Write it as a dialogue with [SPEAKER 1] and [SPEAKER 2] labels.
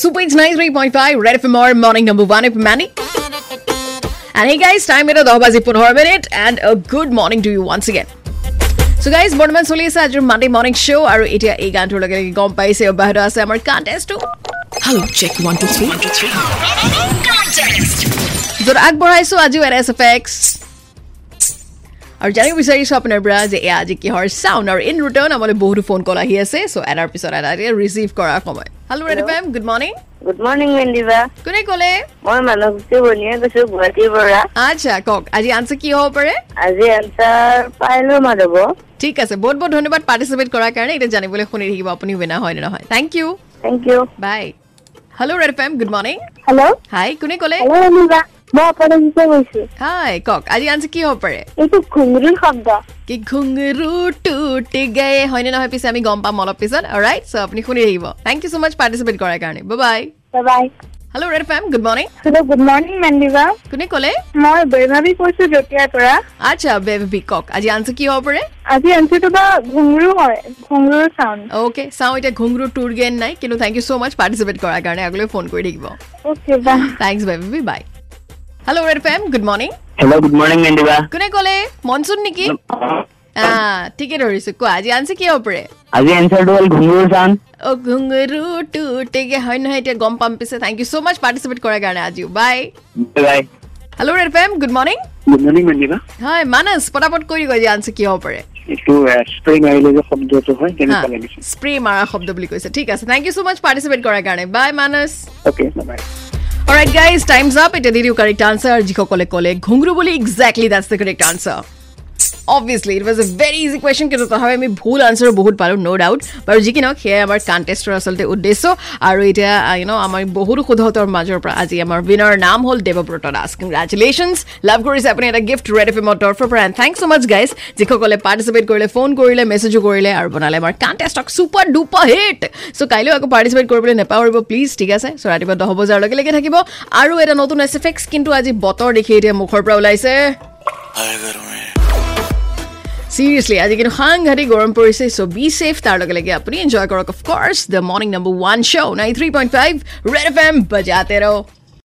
[SPEAKER 1] Super it's nine three point five red F more morning number one F മാനി And hey guys, time it at Obazi Punhor Minute and a good morning to you once again. So guys, বৰ্তমান চলি আছে আজিৰ Monday morning show' আৰু এতিয়া এই গানটোৰ লগে লগে গম পাইছে অব্যাহত আছে আমাৰ কণ্টেষ্টটো
[SPEAKER 2] Hello, check one, two, three.
[SPEAKER 1] য'ত আগবঢ়াইছোঁ আজিও এন এছ এফ এক্স আৰু জানিব বিচাৰিছোঁ আপোনাৰ পৰা যে এয়া আজি কিহৰ চাউণ্ড আৰু ইন ৰিটাৰ্ণ আমালৈ বহুতো ফোন কল আহি আছে চ' এটাৰ পিছত এটা এতিয়া ৰিচিভ কৰাৰ সময় hello' red FM good morning
[SPEAKER 3] good morning মেণ্ডিবা
[SPEAKER 1] কোনে ক'লে
[SPEAKER 3] মই মানসজ্যোতি বনিয়ে কৈছো গুৱাহাটীৰ পৰা
[SPEAKER 1] আচ্ছা কওক আজি আনচাৰ কি হ'ব পাৰে
[SPEAKER 3] আজি এনচাৰ পাইলো মাধৱ
[SPEAKER 1] ঠিক আছে বহুত বহুত ধন্যবাদ পাৰ্টিচিপেট কৰাৰ কাৰণে এতিয়া জানিবলৈ শুনি থাকিব আপুনি উইনাৰ হয় নে নহয় thank you
[SPEAKER 3] thank you
[SPEAKER 1] bye hello' red F M good morning
[SPEAKER 3] hello'
[SPEAKER 1] hi কোনে ক'লে
[SPEAKER 3] হেল্ল' মেণ্ডিবা মই অপৰাজিতা কৈছো
[SPEAKER 1] হাই কওক আজি আনচাৰ কি হ'ব পাৰে
[SPEAKER 3] এইটো ঘুঙুৰিৰ শব্দ
[SPEAKER 1] কি ঘুঙৰু টুটি গে হয়নে নহয় পিছে আমি গম পাম অলপ পিছত ৰাইট চ' আপুনি শুনি থাকিব thank you so' much participate কৰাৰ কাৰণে bye
[SPEAKER 3] bye
[SPEAKER 1] hello' red F M good morning
[SPEAKER 3] hello' good morning মেণ্ডিবা
[SPEAKER 1] কোনে ক'লে
[SPEAKER 3] মই বৈমাবী কৈছো জতিয়াৰ পৰা
[SPEAKER 1] আচ্ছা বেবি কওক আজি আনচাৰ কি হ'ব পাৰে
[SPEAKER 3] আজি এনচাৰটো বা ঘুঙৰু হয় ঘুঙৰুৰ চাউণ্ড
[SPEAKER 1] অ'কে চাওঁ এতিয়া ঘুঙৰু টুৰ গেন নাই কিন্তু thank you so' much participate কৰাৰ কাৰণে আগলৈ ফোন কৰি থাকিব
[SPEAKER 3] okay bye
[SPEAKER 1] thanks baby bye hello' red F M good morning
[SPEAKER 4] hello' good morning মেণ্ডিবা
[SPEAKER 1] কোনে ক'লে মনচুন নেকি আহ ঠিকে ধৰিছো কোৱা আজি আনছে কি হ'ব পাৰে
[SPEAKER 4] আজি এনচাৰটো হ'ল ঘুঙুৰ চান
[SPEAKER 1] অ ঘুঙৰু টুটেগে হয় নহয় এতিয়া গম পাম পিছে thank you so' much participate কৰাৰ কাৰণে আজিও bye
[SPEAKER 4] bye
[SPEAKER 1] hello' red FM good morning
[SPEAKER 4] good morning মেণ্ডিবা
[SPEAKER 1] হয় মানস পটাপট কৰি গৈ আজি আনছে কি হ'ব পাৰে
[SPEAKER 4] এইটো স্প্ৰে মাৰিলে যে শব্দটো হয়
[SPEAKER 1] হা, স্প্ৰে মাৰা শব্দ বুলি কৈছে ঠিক আছে thank you so' much participate কৰাৰ কাৰণে বাই মানস
[SPEAKER 4] okay bye
[SPEAKER 1] alright guys time's up এতিয়া দি দিওঁ কাৰেক্ট আনচাৰ যিসকলে ক'লে ঘুংৰু বুলি exactly that's the correct answer obviously it was a very easy question কিন্তু তথাপি আমি ভুল আনচাৰ বহুত পালোঁ ন' ডাউট বাৰু যি কি নহওক সেয়াই আমাৰ কণ্টেষ্টৰ আচলতে উদ্দেশ্য আৰু এতিয়া ইউ ন' আমাৰ বহুতো শুদ্ধতৰ মাজৰ পৰা আজি আমাৰ উইনাৰ নাম হ'ল দেৱব্ৰত দাস কংগ্ৰেচুলেশ্যনছ লাভ কৰিছে আপুনি এটা গিফ্ট ৰেড এফ এমৰ তৰফৰ পৰা and thank so' much guys যিসকলে পাৰ্টিচিপেট কৰিলে ফোন কৰিলে মেছেজো কৰিলে আৰু বনালে আমাৰ কণ্টেষ্টক ছুপাৰ ডুপাৰ হিট চ' কাইলৈও আকৌ পাৰ্টিচিপেট কৰিবলৈ নাপাহৰিব প্লিজ ঠিক আছে চ' ৰাতিপুৱা দহ বজাৰ লগে লগে থাকিব আৰু এটা নতুন এছ এফ এক্স কিন্তু আজি বতৰ দেখি এতিয়া মুখৰ পৰা ওলাইছে চিৰিয়াছলি আজি কিন্তু সাংঘাতিক গৰম পৰিছে চ' বি ছেফ তাৰ লগে লগে আপুনি এনজয় কৰক of course the morning number one show' nine three point five red F M বজাতে ৰ'